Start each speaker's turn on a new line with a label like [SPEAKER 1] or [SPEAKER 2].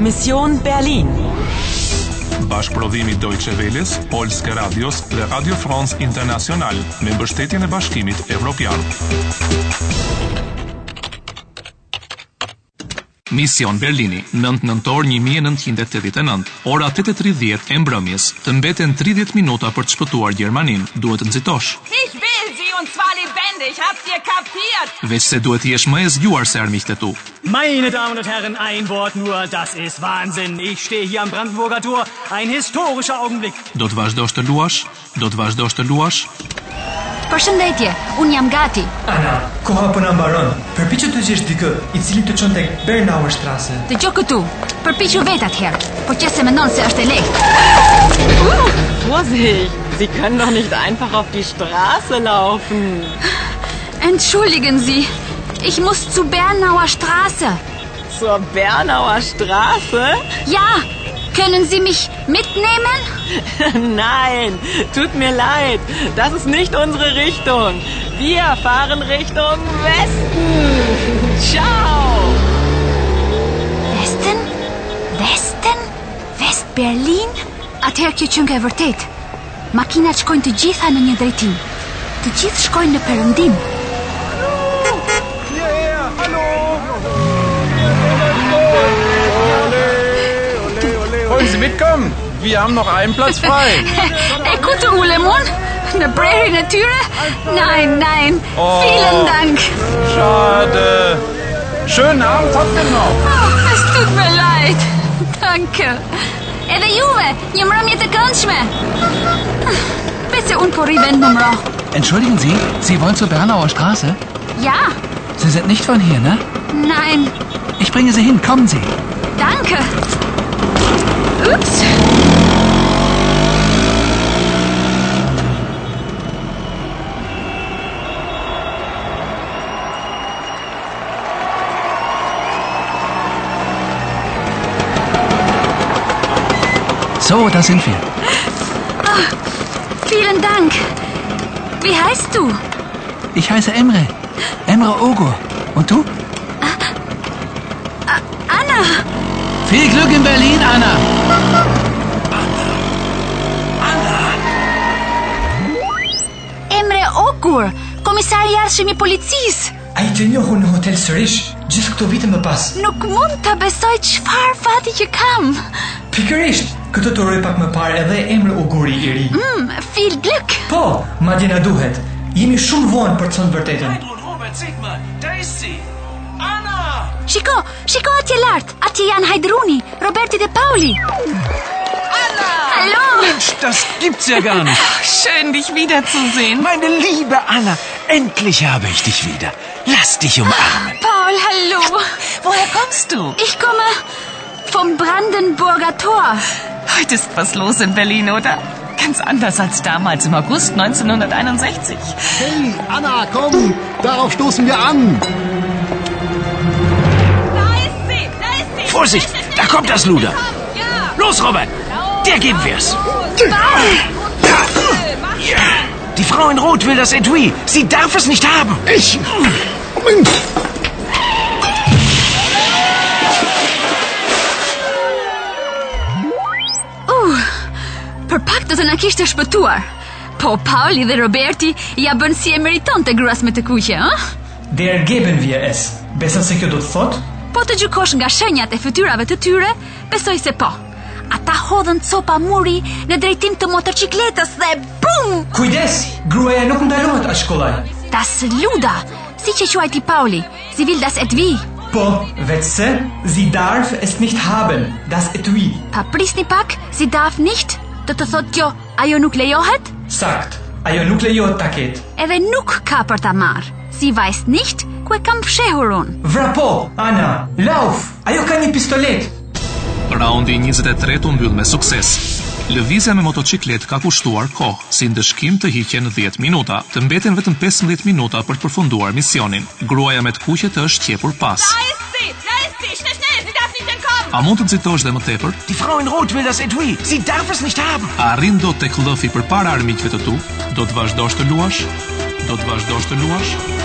[SPEAKER 1] Mission Berlin.
[SPEAKER 2] Bashkëprodhimi Deutsche Welles, Polske Radios dhe Radio France International me mbështetjen e Bashkimit Evropian. Mision Berlini, 9 nëntor 1989, ora 8:30 e mbrëmjes. Të mbeten 30 minuta për të shpëtuar Gjermaninë. Duhet të nxitosh.
[SPEAKER 3] Ich will sie und zwar lebendig. Habt ihr kapiert?
[SPEAKER 2] Veç se duhet të jesh më e zgjuar se armiqtë tu.
[SPEAKER 4] Meine Damen und Herren, ein Wort nur, das ist Wahnsinn. Ich stehe hier am Brandenburger Tor. Ein historischer Augenblick.
[SPEAKER 2] Do të vazhdosh të luash? Do të vazhdosh të luash?
[SPEAKER 5] Përshëndetje, un jam gati.
[SPEAKER 6] Ana, koha po na mbaron. Përpiqet të gjesh dikë i cili të çon tek Bernauer Strasse.
[SPEAKER 5] Dëgjoj këtu. Përpiqu vet atëherë. Po qëse mendon se është e lehtë.
[SPEAKER 3] Vorsicht, Sie können doch nicht einfach auf die Straße laufen.
[SPEAKER 5] Entschuldigen Sie. Ich muss zu Bernauer Straße.
[SPEAKER 3] Zur Bernauer Straße?
[SPEAKER 5] Ja, können Sie mich mitnehmen?
[SPEAKER 3] Nein, tut mir leid. Das ist nicht unsere Richtung. Wir fahren Richtung Westen. Ciao.
[SPEAKER 5] Westen? Westen? West Berlin? Atëherë kjo qënë e vërtet. Makinat shkojnë të gjitha në një drejtim. Të gjithë shkojnë në perëndim.
[SPEAKER 7] Wollen Sie mitkommen? Wir haben noch einen Platz frei.
[SPEAKER 5] E ku të ulem unë? Në brerin e tyre? Nein, nein.
[SPEAKER 7] Oh.
[SPEAKER 5] Vielen Dank.
[SPEAKER 7] Schade. Schönen Abend habt ihr noch.
[SPEAKER 5] Oh, es tut mir leid. Danke. Edhe juve, një mbrëmje të këndshme. Pse un po rri vend në mro.
[SPEAKER 8] Entschuldigen Sie, Sie wollen zur Bernauer Straße?
[SPEAKER 5] Ja,
[SPEAKER 8] Sie sind nicht von hier, ne?
[SPEAKER 5] nein,
[SPEAKER 8] Ich bringe Sie hin, kommen Sie.
[SPEAKER 5] danke. Ups.
[SPEAKER 8] So, da sind wir.
[SPEAKER 5] Vielen Dank. Wie heißt du?
[SPEAKER 8] Ich heiße Emre. Emre Ogur. Und du?
[SPEAKER 5] Ah, Anna.
[SPEAKER 8] Viel Glück in Berlin, Anna.
[SPEAKER 5] Emre Okur, komisari i arshëm i policisë.
[SPEAKER 6] Ai të njohu në hotel sërish gjithë këto vite më pas.
[SPEAKER 5] Nuk mund ta besoj çfarë fati që kam.
[SPEAKER 6] Pikërisht, këtë të roj pak më parë edhe emri Uguri i ri.
[SPEAKER 5] Mm, viel Glück.
[SPEAKER 6] Po, madje na duhet. Jemi shumë vonë për të thënë vërtetën.
[SPEAKER 5] Shiko, shiko atje lart. Atje janë Hajdruni, Roberti dhe Pauli. Anna! Hallo!
[SPEAKER 9] Das gibt's ja gar nicht.
[SPEAKER 3] Schön, dich wiederzusehen.
[SPEAKER 9] Meine liebe Anna, endlich habe ich dich wieder. Lass dich umarmen.
[SPEAKER 5] Paul, hallo.
[SPEAKER 3] Woher kommst du?
[SPEAKER 5] Ich komme vom Brandenburger Tor.
[SPEAKER 3] Heute ist was los in Berlin, oder? Ganz anders als damals im August 1961.
[SPEAKER 10] Hey, Anna, komm! Darauf stoßen wir an!
[SPEAKER 9] Vorsicht, da kommt das Luder. Los, Robert, dir geben wir's. Ja. Die Frau in Rot will das Etui. Sie darf es nicht haben.
[SPEAKER 10] Ich!
[SPEAKER 5] Uh, për pak do të na kishte shpëtuar. Po Pauli dhe Roberti ja bën si e meriton të gruas me të kuqe, ëh?
[SPEAKER 6] Der geben wir es. Besën se kjo do të thotë?
[SPEAKER 5] Po të gjykosh nga shenjat e fytyrave të tyre, besoj se po. Ata hodhën copa muri në drejtim të motorcikletës dhe bum!
[SPEAKER 6] Kujdes, gruaja nuk ndalohet as kollaj.
[SPEAKER 5] Das Luda, si që quajti Pauli, si vil das Edvi.
[SPEAKER 6] Po, vetëse, sie darf es nicht haben, das etui.
[SPEAKER 5] Pa prisni pak, si daf nicht, do të thot kjo, ajo nuk lejohet,
[SPEAKER 6] Sakt, ajo nuk lejohet ta ketë.
[SPEAKER 5] edhe nuk ka për ta marrë. Si vajs nicht, ku e kam fshehur unë.
[SPEAKER 6] Vrapo, Ana, lauf, ajo ka një pistolet.
[SPEAKER 2] Raundi 23 u mbyll me sukses. Lëvizja me motociklet ka kushtuar kohë, si ndëshkim të hiqen 10 minuta, të mbeten vetëm 15 minuta për të përfunduar misionin. Gruaja me të kuqe të është qepur pas.
[SPEAKER 3] ist sie! Da ist sie! Schnell, schnell! Sie darf nicht entkommen!
[SPEAKER 2] A mund të nxitosh dhe më tepër?
[SPEAKER 9] Die Frau in Rot will das Etui. Sie darf es nicht haben.
[SPEAKER 2] A arrin dot tek llëfi përpara armiqve të tu? Do të vazhdosh të luash? Do të vazhdosh të luash?